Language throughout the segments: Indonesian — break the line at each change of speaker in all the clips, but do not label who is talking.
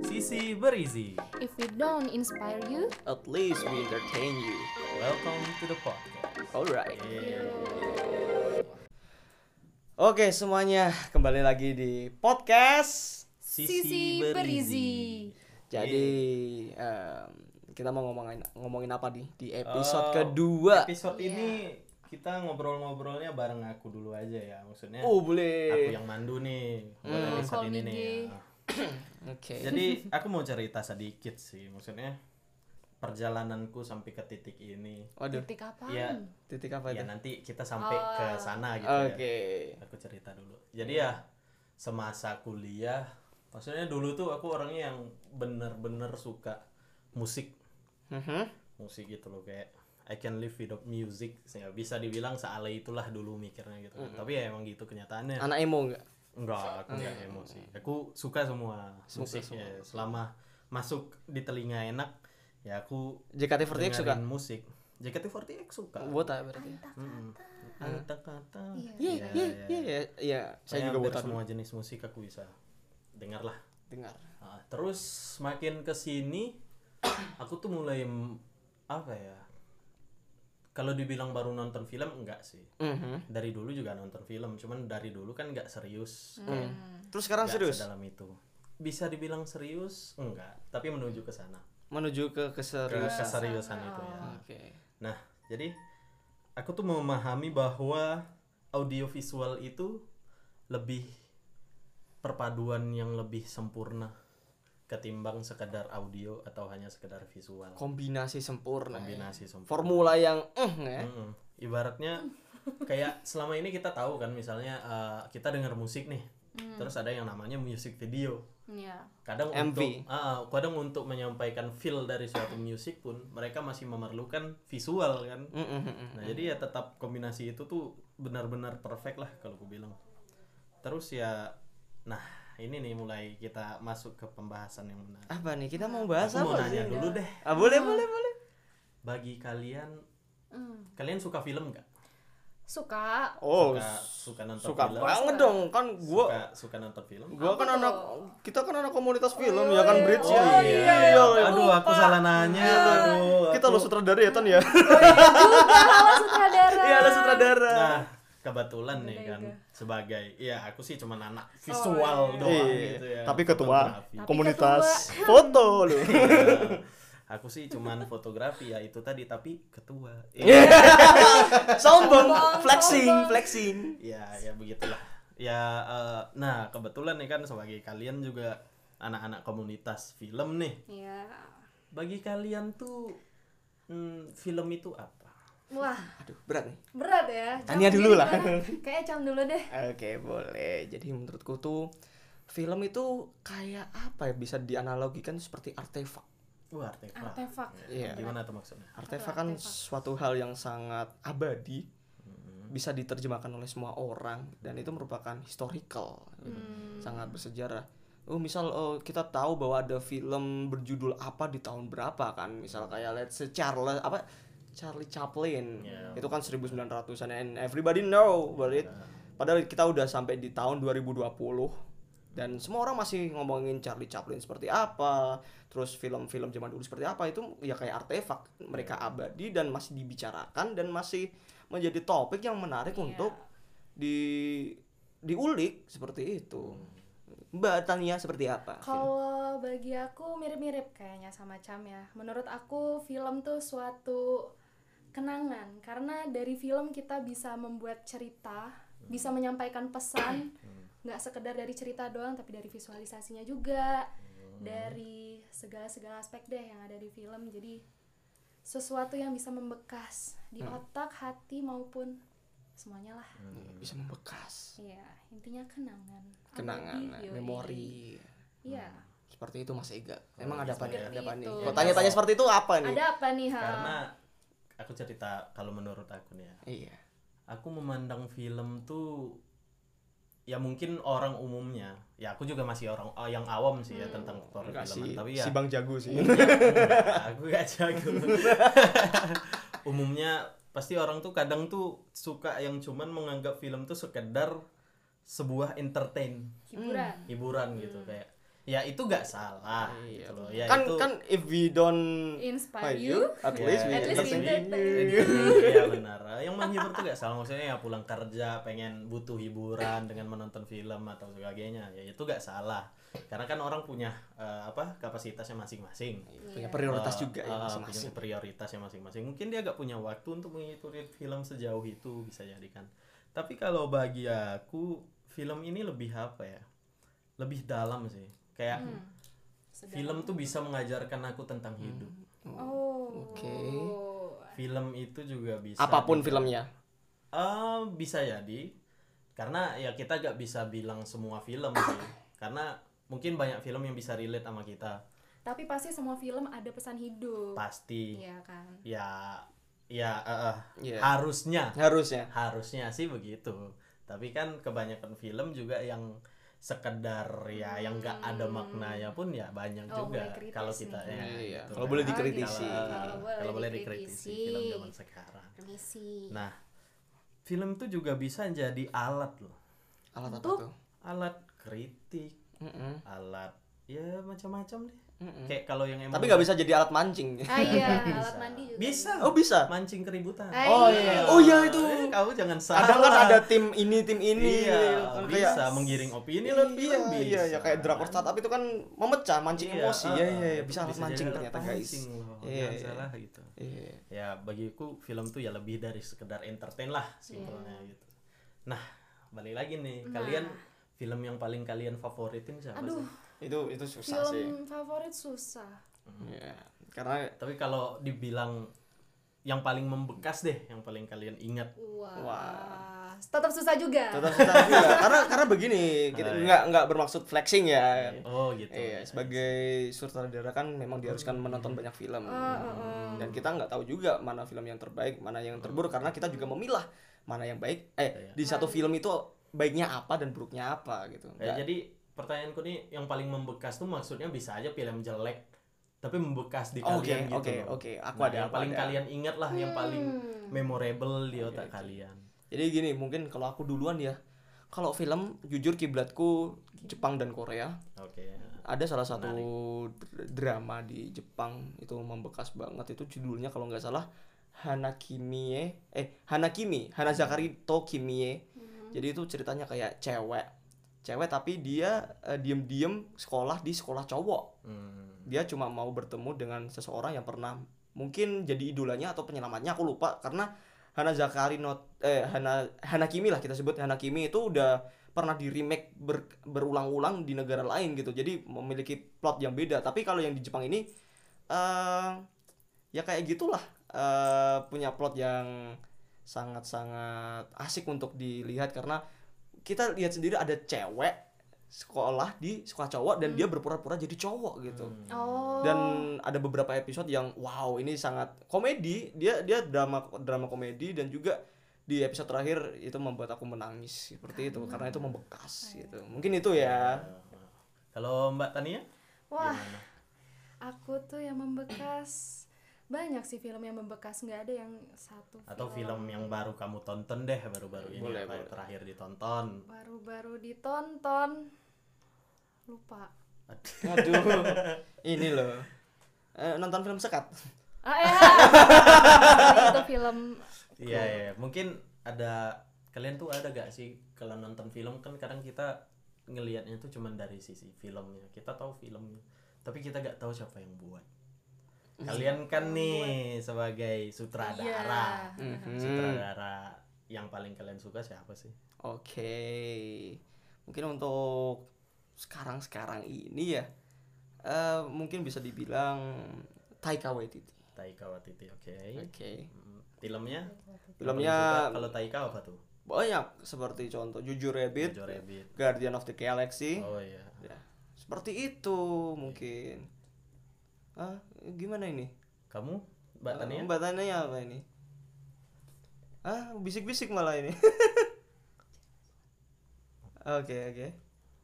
Visi Berisi.
If we don't inspire you,
At least we entertain you.
Welcome to the podcast.
Alright.
Yeah.
Oke semuanya, kembali lagi di podcast.
Sisi Berisi.
Jadi em, kita mau ngomongin ngomongin apa nih di
Iya.
episode
Oh,
kedua?
Episode
Iya.
ini kita ngobrol-ngobrolnya bareng aku dulu aja ya. Maksudnya
Oh
aku
boleh.
yang mandu nih buat
Hmm.
episode
Call
ini
me
nih.
gay.
Ah.
Oke.
Jadi aku mau cerita sedikit sih. Maksudnya perjalananku sampai ke titik ini.
Waduh,
titik apa?
Iya.
titik apa
Ya
itu?
nanti kita sampai
Oh.
ke sana gitu ya.
Oke.
aku cerita dulu jadi ya semasa kuliah maksudnya dulu tuh aku orangnya yang bener-bener suka musik
Mhm.
musik gitu loh kayak I can live without music ya bisa dibilang sealai itulah dulu mikirnya gitu kan. tapi ya emang gitu kenyataannya
Anak emo nggak?
enggak aku enggak emosi aku suka semua Iya. musik ya selama masuk di telinga enak ya aku
JKT48 suka?
dengerin musik JKT48 suka
Buat apa berarti?
Mm-mm. Ya, kata
Iya iya iya iya. Saya juga buat
semua jenis musik aku bisa dengar lah
dengar.
Nah, terus makin ke sini aku tuh mulai m- apa ya? Kalau dibilang baru nonton film enggak sih.
Mhm.
Dari dulu juga nonton film, cuman dari dulu kan enggak serius.
Mm. Terus sekarang
Nggak
serius
Sedalam itu. Bisa dibilang serius? Enggak, tapi menuju ke sana.
menuju ke
Ke
keserius.
keseriusan itu ya.
Oke.
Nah, jadi aku tuh memahami bahwa audiovisual itu lebih perpaduan yang lebih sempurna ketimbang sekedar audio atau hanya sekedar visual.
Kombinasi sempurna. ya.
Kombinasi sempurna.
Formula yang
Hmm.
eh nggak ya?
Mm-mm. Ibaratnya kayak selama ini kita tahu kan misalnya eh, kita dengar musik nih. Terus ada yang namanya music video.
Iya.
Kadang
MV.
untuk ah, kadang untuk menyampaikan feel dari suatu musik pun mereka masih memerlukan visual kan.
Mm, mm, mm.
Nah, jadi ya tetap kombinasi itu tuh benar-benar perfect lah kalau gue bilang. Terus ya nah, ini nih mulai kita masuk ke pembahasan yang menarik.
Apa nih? Kita mau bahas
Aku mau
apa?
nanya dulu deh.
Ah, boleh, boleh, boleh.
Bagi kalian
Hmm.
kalian suka film nggak?
Suka.
Oh,
Suka, suka nonton
suka
film.
banget dong kan gua
Suka, suka nonton film.
gua kan
Apa
anak
tuh?
kita kan anak komunitas film ya kan Bridge
Oh,
ya.
iya,
iya.
Aduh, aku salah nanya. Aduh.
Kita
aku-
lo sutradara ya Tan ya.
Halo sutradara.
Iya, lo sutradara.
Nah, kebetulan nih
Udah,
kan
udah.
sebagai ya aku sih cuma anak visual
iya.
doang
Iya,
gitu ya.
Tapi ketua
Fotografi.
komunitas foto lu.
Iya. aku sih cuman fotografi ya itu tadi tapi ketua
Iya.
Iya,
Sombong,
Sombong,
flexing,
sombong.
flexing.
ya ya begitulah ya eh, nah kebetulan nih kan sebagai kalian juga anak-anak komunitas film nih
Iya.
bagi kalian tuh hmm, film itu apa
Wah,
Aduh, berat nih.
berat ya. Cam
Tanya dulu
gimana?
lah.
Kayaknya cam dulu deh.
Oke boleh. Jadi menurutku tuh film itu kayak apa ya bisa dianalogikan seperti artefak.
wah artefak
Artefak.
Iya.
gimana tuh maksudnya
Artefak kan
Artefak.
suatu hal yang sangat abadi bisa diterjemahkan oleh semua orang dan itu merupakan historical gitu. sangat bersejarah. Oh misal oh, kita tahu bahwa ada film berjudul apa di tahun berapa kan misal kayak let's say Charles apa Charlie Chaplin
Yeah.
itu kan 1900-an and everybody know about it. Padahal kita udah sampai di tahun 2020 dan semua orang masih ngomongin Charlie Chaplin seperti apa, terus film-film zaman dulu seperti apa itu ya kayak artefak mereka
Iya.
abadi dan masih dibicarakan dan masih menjadi topik yang menarik
Iya.
untuk di diulik seperti itu. Mbak Tania seperti apa?
Hmm. Kalau bagi aku mirip-mirip kayaknya sama Cam ya. Menurut aku film tuh suatu kenangan karena dari film kita bisa membuat cerita, bisa
Hmm.
menyampaikan pesan, nggak sekedar dari cerita doang tapi dari visualisasinya juga,
Hmm.
dari segala-segala aspek deh yang ada di film. Jadi sesuatu yang bisa membekas di otak, hati maupun semuanya lah.
Hmm, Bisa membekas
Iya, intinya kenangan.
kenangan,
Abadi, yoi.
memori. Hmm.
Iya.
Seperti itu Mas Ega. Emang ada apa nih?
Oh, seperti
Ada apa nih?
itu.
Kalau tanya-tanya seperti itu apa nih?
Ada apa nih, Ha?
karena aku cerita kalau menurut aku nih ya
Iya.
aku memandang film tuh ya mungkin orang umumnya ya aku juga masih orang oh, yang awam sih ya
Hmm.
tentang
Enggak
perfilman
sih,
tapi ya
si Bang Jago sih.
aku gak jago umumnya pasti orang tuh kadang tuh suka yang cuman menganggap film tuh sekedar sebuah entertain
Hiburan.
hiburan gitu kayak ya itu gak salah gitu loh ya
kan
itu
kan if we
Hmm.
don't
Inspire you,
at
Ya,
least
at least
we
we
entertain
entertain
you.
Iya, Iya benar. Yang menghibur tuh gak salah maksudnya ya pulang kerja pengen butuh hiburan dengan menonton film atau sebagainya. Ya itu gak salah. Karena kan orang punya eh, apa kapasitasnya masing-masing.
punya
Eh,
prioritas juga ya
eh,
masing-masing
Punya prioritasnya ya, masing-masing. Mungkin dia gak punya waktu untuk mengikuti film sejauh itu bisa jadi kan. Tapi kalau bagi aku film ini lebih apa ya? Lebih dalam sih. Kayak
Hmm,
Hmm.
Sedang-
film tuh bisa mengajarkan aku tentang hidup.
Oh.
Oke.
Film itu juga bisa
apapun filmnya
Eh, bisa jadi karena ya kita gak bisa bilang semua film sih karena mungkin banyak film yang bisa relate sama kita
Tapi pasti semua film ada pesan hidup.
pasti
Iya kan.
ya ya eh, eh,
Iya.
harusnya
harusnya
harusnya sih begitu tapi kan kebanyakan film juga yang sekedar ya yang nggak ada maknanya pun ya banyak
Hmm. Oh,
juga
boleh kritis
kalau kita
nih.
ya,
Iya,
gitu
kalau
kan.
boleh
Oh,
dikritisi.
gitu.
kalau, kalau boleh dikritisi film zaman sekarang
Permisi.
nah film tuh juga bisa jadi alat loh
alat apa
Untuk-
tuh
alat kritik
Mm-mm.
alat ya macam-macam deh
Mm-mm.
kayak kalau yang emang
Hmm. tapi nggak bisa jadi alat mancing
Ah iya, alat mandi juga.
bisa
oh bisa
mancing keributan
Ah, Oh, iya.
iya. Oh, iya, itu.
Eh, kamu jangan salah
kadang kan ada tim ini tim ini
iya
Kan
bisa
kayak-
menggiring opini
iya,
lah
iya, iya, ya kayak drakor startup itu kan memecah mancing emosi ya iya, iya, bisa alat mancing ternyata guys Iya,
iya
iya.
salah gitu
Iya.
ya bagiku film tuh ya lebih dari sekedar entertain lah simpelnya gitu nah balik lagi nih kalian film yang paling kalian favoritin siapa
Aduh,
sih
itu itu susah sih
film favorit susah.
Iya. karena
tapi kalau dibilang yang paling membekas deh yang paling kalian ingat
Wah.
Wah.
Tetap susah juga.
tetap susah juga karena karena begini
Ah,
kita
iya.
nggak nggak bermaksud flexing ya
Oh gitu.
Iya, sebagai sutradara kan memang diharuskan
Mm-hmm.
menonton banyak film. Dan kita nggak tahu juga mana film yang terbaik, mana yang terburuk
Mm-hmm.
karena kita juga memilah mana yang baik. Eh,
Iya.
di satu film itu baiknya apa dan buruknya apa gitu.
Ya,
Nggak-
jadi pertanyaanku nih yang paling membekas tuh maksudnya bisa aja film jelek tapi membekas di
Oh, Oke,
kalian gitu.
oke,
loh.
oke. Aku
Nah,
ada
yang
aku
paling
ada.
kalian ingat lah yang paling
Hmm.
memorable di otak kalian.
Jadi gini, mungkin kalau aku duluan ya. Kalau film jujur kiblatku Jepang dan Korea.
Oke.
Ada salah satu dr- drama di Jepang itu membekas banget itu judulnya kalau nggak salah Hanakimie eh Hanakimi Hanazakari to Kimie.
Hmm.
Jadi itu ceritanya kayak cewek. Cewek tapi dia eh, diem-diem sekolah di sekolah cowok.
Hmm.
Dia cuma mau bertemu dengan seseorang yang pernah mungkin jadi idolanya atau penyelamatnya aku lupa karena Hanazakari no eh Hana Hanakimi lah kita sebut Hanakimi itu udah pernah di remake ber- berulang-ulang di negara lain gitu. Jadi memiliki plot yang beda. Tapi kalau yang di Jepang ini eh ya kayak gitulah eh punya plot yang sangat-sangat asik untuk dilihat karena kita lihat sendiri ada cewek sekolah di sekolah cowok dan dia berpura-pura jadi cowok gitu
Oh.
dan ada beberapa episode yang wow ini sangat komedi dia dia drama drama komedi dan juga di episode terakhir itu membuat aku menangis seperti itu karena itu membekas gitu mungkin itu ya
Kalau Mbak Tania?
Wah,
gimana?
aku tuh yang membekas. Banyak sih film yang membekas, nggak ada yang satu
Atau film yang baru kamu tonton deh baru-baru ini
Boleh,
apa yang
boleh.
terakhir ditonton.
baru-baru ditonton. Lupa.
Aduh,
aduh ini loh Eh, nonton film sekat
Ah, ya. itu film
Iya iya, mungkin ada kalian tuh ada gak sih kalau nonton film kan kadang kita ngelihatnya tuh cuman dari sisi filmnya. Kita tahu filmnya, tapi kita gak tahu siapa yang buat.
Hmm.
Kalian kan nih sebagai sutradara.
Mhm.
Sutradara yang paling kalian suka siapa sih?
Oke, mungkin untuk sekarang-sekarang ini ya, eh, mungkin bisa dibilang Taika Waititi.
Taika Waititi, oke.
Oke,
Mm, Filmnya?
Filmnya-
Kalau Taika apa tuh?
banyak seperti contoh Jujur Rabbit,
Jojo Rabbit.
Guardian of the Galaxy,
Oh iya.
ya, seperti itu mungkin. Ah, gimana ini?
Kamu? Mbak Tania?
Eh, Mbak Tania apa ini? Ah, bisik-bisik malah ini. Oke, oke,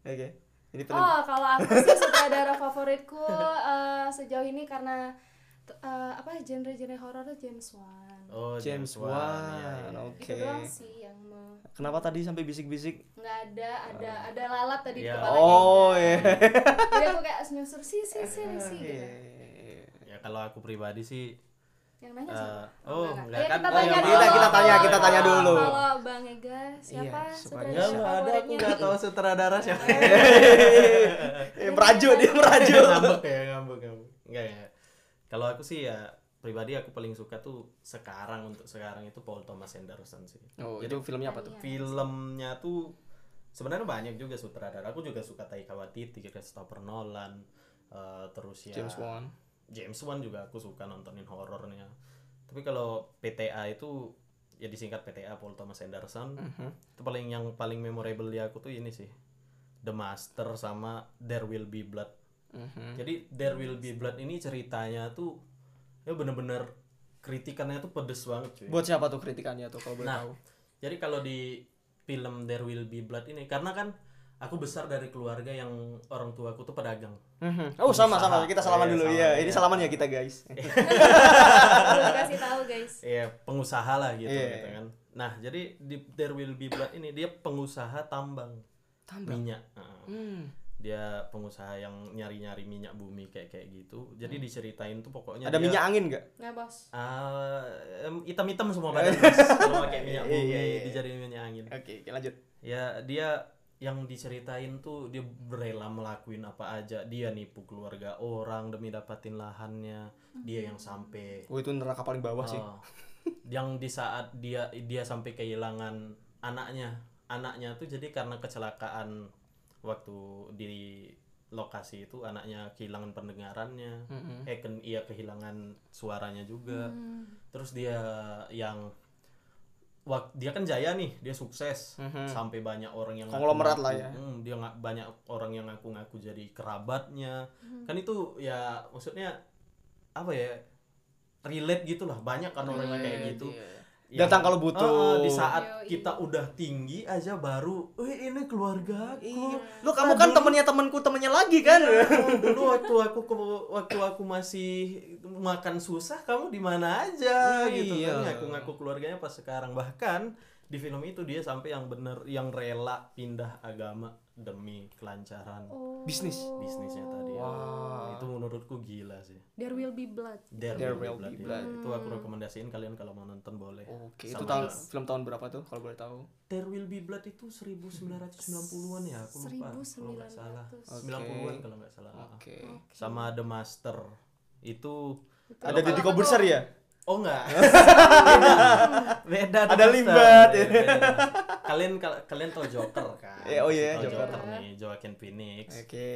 oke. Ini film
Oh, kalau aku sih sutradara favoritku eh, sejauh ini karena T- eh, apa genre-genre horor tuh James Wan.
Oh,
James
Wan, ya,
Wan.
ya.
Itu
Oke.
doang sih yang me-
Kenapa tadi sampai bisik-bisik?
nggak ada ada ada lalat tadi di
Iya.
kepala
Oh,
dia.
iya.
Jadi aku kayak nyusur
Eh,
sih sih sih sih gitu.
Ya kalau aku pribadi sih
Yang nanya
Eh,
siapa?
oh, enggak
Eh,
kan.
Kita
Oh,
tanya
yang
dulu.
kita- kita tanya,
Kalau-
kita tanya dulu.
Kalau Bang Ega siapa
Iya,
Enggak,
sutradara
enggak ada, aku
favoritnya? Iya,
enggak tahu sutradara siapa.
Eh, merajuk dia merajuk.
ngambek ya, ngambek, ngambek. Enggak ya. Kalau aku sih ya pribadi aku paling suka tuh sekarang untuk sekarang itu Paul Thomas Anderson sih.
Iya.
Oh, itu filmnya apa tuh?
Filmnya tuh sebenarnya banyak juga sutradara. Aku juga suka Taika Waititi, Christopher Nolan, eh, terus ya
James Wan.
James Wan juga aku suka nontonin horornya. Tapi kalau PTA itu ya disingkat PTA Paul Thomas Anderson. Itu paling yang paling memorable di aku tuh ini sih. The Master sama There Will Be Blood.
Mhm.
Jadi There Will Be Blood ini ceritanya tuh ya bener-bener kritikannya tuh pedes banget cuy.
Buat siapa tuh kritikannya tuh kalau boleh
Nah,
tahu?
jadi kalau di film There Will Be Blood ini karena kan aku besar dari keluarga yang orang tuaku tuh pedagang.
Mhm. Oh, sama
pengusaha.
sama kita salaman
Iya,
dulu
salaman,
ya. Ini
iya.
salaman ya kita, guys.
Belum kasih tahu guys.
ya pengusaha lah gitu
Iya.
gitu kan. Nah, jadi di There Will Be Blood ini dia pengusaha tambang,
Tambah.
minyak. Heeh.
Hmm.
Dia pengusaha yang nyari-nyari minyak bumi kayak kayak gitu. Jadi diceritain tuh pokoknya
Ada
dia-
minyak angin nggak?
Nah, Bos.
Ah, em, hitam-hitam semua badan Mas. Kalau pakai minyak
Iya,
bumi
iya, iya.
dijadiin minyak angin.
Oke, oke, lanjut.
Ya dia yang diceritain tuh dia rela melakuin apa aja. Dia nipu keluarga orang demi dapatin lahannya. Dia yang sampai
Oh, itu neraka paling bawah sih.
Oh. yang di saat dia dia sampai kehilangan anaknya anaknya tuh jadi karena kecelakaan waktu di lokasi itu anaknya kehilangan pendengarannya
Mhm.
eh ken- iya kehilangan suaranya juga
Hmm.
terus dia yang wak- dia kan jaya nih dia sukses
Mhm.
sampai banyak orang yang
Konglomerat lah
ngaku-ngaku,
ya.
mm, dia nggak banyak orang yang ngaku-ngaku jadi kerabatnya kan itu ya maksudnya apa ya relate gitulah banyak kan orang yang kayak gitu Yang-
Datang kalau butuh.
Heeh, di saat
Hmm, iya, Yoi.
kita udah tinggi aja baru "Wih, ini keluarga
Iya.
aku
Lu kamu kan temennya temanku temennya lagi kan?
Iya. dulu waktu aku ke- waktu aku masih makan susah kamu di mana aja gitu
Iya.
kan ngaku ngaku keluarganya pas sekarang bahkan di film itu dia sampai yang bener yang rela pindah agama demi kelancaran
Oh.
Bisnis.
bisnisnya tadi ya.
Wah.
itu menurutku gila sih
There will be blood.
There,
There
Will
Will
Be
Be
Blood,
Blood.
ya. itu aku rekomendasiin kalian kalau mau nonton boleh
Oke, itu
Sama
tahun film tahun berapa tuh kalau boleh tahu?
There Will Be Blood itu 1990-an ya aku lupa kalau nggak salah
1900.
Oke.
90-an kalau nggak salah
Oke.
sama The Master itu
Ada
Kalau-
Deddy Kobuser ya?
Oh enggak. beda.
Ada
Dokter.
limbat.
Iya, beda. kalian kal- kalian tahu Joker kan?
Eh, oh iya, Eh,
Tahu
Joker.
Joker. nih, Joaquin Phoenix.
Oke.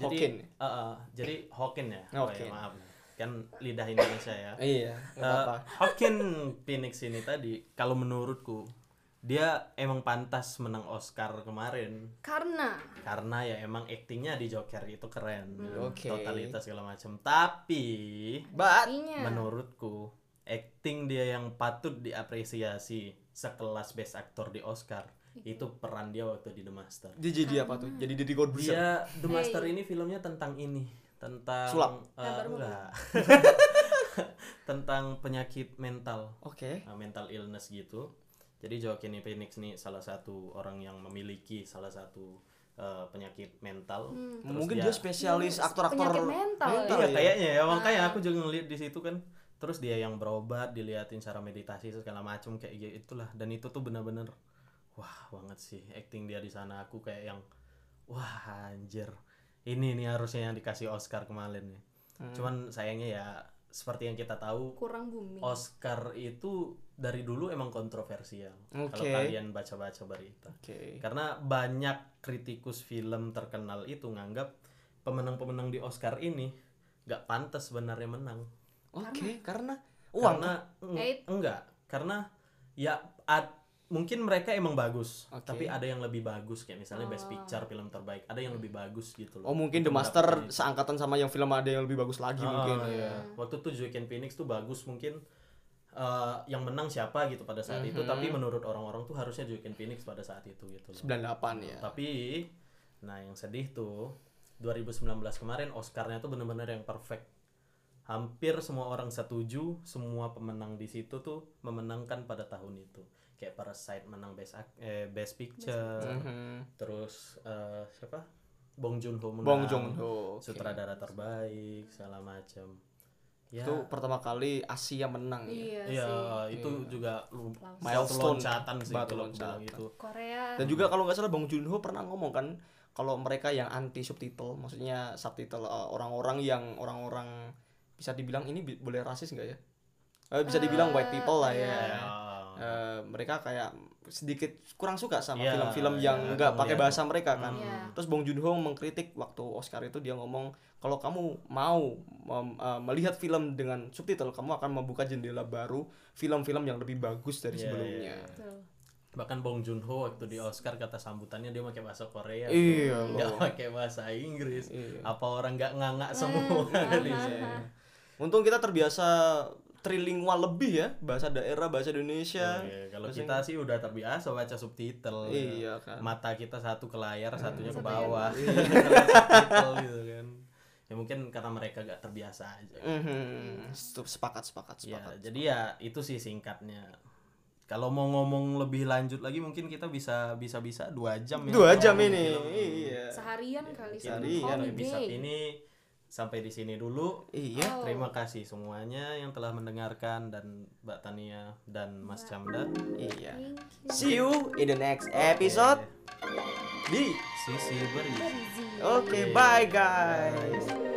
Jadi,
Hawkin.
eh, eh, jadi Hawkin ya. Oh,
Hawkin.
ya, maaf. Kan lidah Indonesia ya.
Iya,
Eh,
nggak apa-apa.
Hawkin Phoenix ini tadi kalau menurutku dia emang pantas menang Oscar kemarin
Karena
karena ya emang aktingnya di Joker itu keren
Oke.
totalitas segala macam tapi
But
artinya
menurutku acting dia yang patut diapresiasi sekelas best actor di Oscar itu peran dia waktu di The Master.
dia jadi apa tuh? Jadi Deddy Kobuser.
Dia The Master ini filmnya tentang ini, tentang
Sulap.
eh,
Kabar buruk.
enggak. tentang penyakit mental,
Oke.
eh, mental illness gitu. Jadi Joaquin Phoenix nih salah satu orang yang memiliki salah satu eh, penyakit mental. Terus
Mungkin dia spesialis
Iya,
aktor-aktor
penyakit mental
Iya
ya.
kayaknya ya, makanya aku juga ngeliat di situ kan. Terus dia yang berobat, diliatin cara meditasi segala macem kayak gitu itulah. Dan itu tuh bener-bener wah banget sih acting dia di sana. Aku kayak yang wah anjir. Ini nih harusnya yang dikasih Oscar kemarin nih. Cuman sayangnya ya seperti yang kita tahu
kurang booming.
Oh, Oscar itu dari dulu emang kontroversial. Kalau
Oke.
kalian baca-baca berita.
Oke.
Karena banyak kritikus film terkenal itu nganggap pemenang-pemenang di Oscar ini nggak pantas sebenarnya menang.
Oke, karena uang.
Karena eng-
Eh.
enggak, karena ya ad- mungkin mereka emang bagus,
Oke.
tapi ada yang lebih bagus kayak misalnya Best Picture film terbaik, ada yang lebih bagus gitu loh.
Oh, mungkin The
Untuk
Master
mendapatkan itu.
seangkatan sama yang film ada yang lebih bagus lagi
Ah,
mungkin. ya.
iya. Waktu itu Joaquin Phoenix tuh bagus mungkin eh, yang menang siapa gitu pada saat itu, tapi menurut orang-orang tuh harusnya Joaquin Phoenix pada saat itu gitu loh.
98 ya.
Tapi nah yang sedih tuh 2019 kemarin Oscarnya tuh bener-bener yang perfect. hampir semua orang setuju semua pemenang di situ tuh memenangkan pada tahun itu kayak Parasite menang best Ac- eh, best picture
Mhm.
terus eh, siapa Bong Joon Ho menang
Bong Joon Ho. oke.
sutradara terbaik segala macam ya
Itu pertama kali Asia menang ya.
Iya,
iya
sih.
itu juga lu
Langsung.
satu
Milestone.
loncatan sih
Batu
kalau aku bilang gitu.
loncatan.
itu
Korea.
Dan juga kalau nggak salah Bong Joon Ho pernah ngomong kan kalau mereka yang anti subtitle, maksudnya subtitle eh, orang-orang yang orang-orang bisa dibilang ini bi- boleh rasis nggak ya? Eh, bisa dibilang white people lah ya.
Iya.
Eh, mereka kayak sedikit kurang suka sama
Iya,
film-film
iya, aku
yang nggak pakai
ngeliat.
bahasa mereka kan.
Iya.
Terus Bong Joon Ho mengkritik waktu Oscar itu dia ngomong kalau kamu mau mem- eh, melihat film dengan subtitle kamu akan membuka jendela baru film-film yang lebih bagus dari
Iya, iya.
sebelumnya.
Betul.
bahkan Bong Joon Ho waktu di Oscar kata sambutannya dia pakai bahasa Korea
Iya,
nggak
loh.
pakai bahasa Inggris
Iya.
apa orang nggak nganga semua Iya. di sini.
Untung kita terbiasa trilingual lebih ya, bahasa daerah, bahasa Indonesia.
Iya, kalau
Bahasa
kita sih udah terbiasa baca subtitle
Iya, kan.
mata kita satu ke layar satunya ke
Satunya
bawah subtitle gitu kan ya mungkin karena mereka gak terbiasa aja
Mhm. Setup- sepakat sepakat
ya
sepakat.
jadi ya itu sih singkatnya kalau mau ngomong lebih lanjut lagi mungkin kita bisa bisa bisa dua jam ya
Dua
ngomong
jam ini.
film.
Iya.
Seharian kali sih.
Mungkin
Seharian.
episode
Holiday.
ini sampai di sini dulu
Iya.
Oh.
Terima kasih semuanya yang telah mendengarkan dan Mbak Tania dan Mas Camdat.
Iya.
Thank you.
See you in the next episode di
Sisi beri.
Oke, bye guys.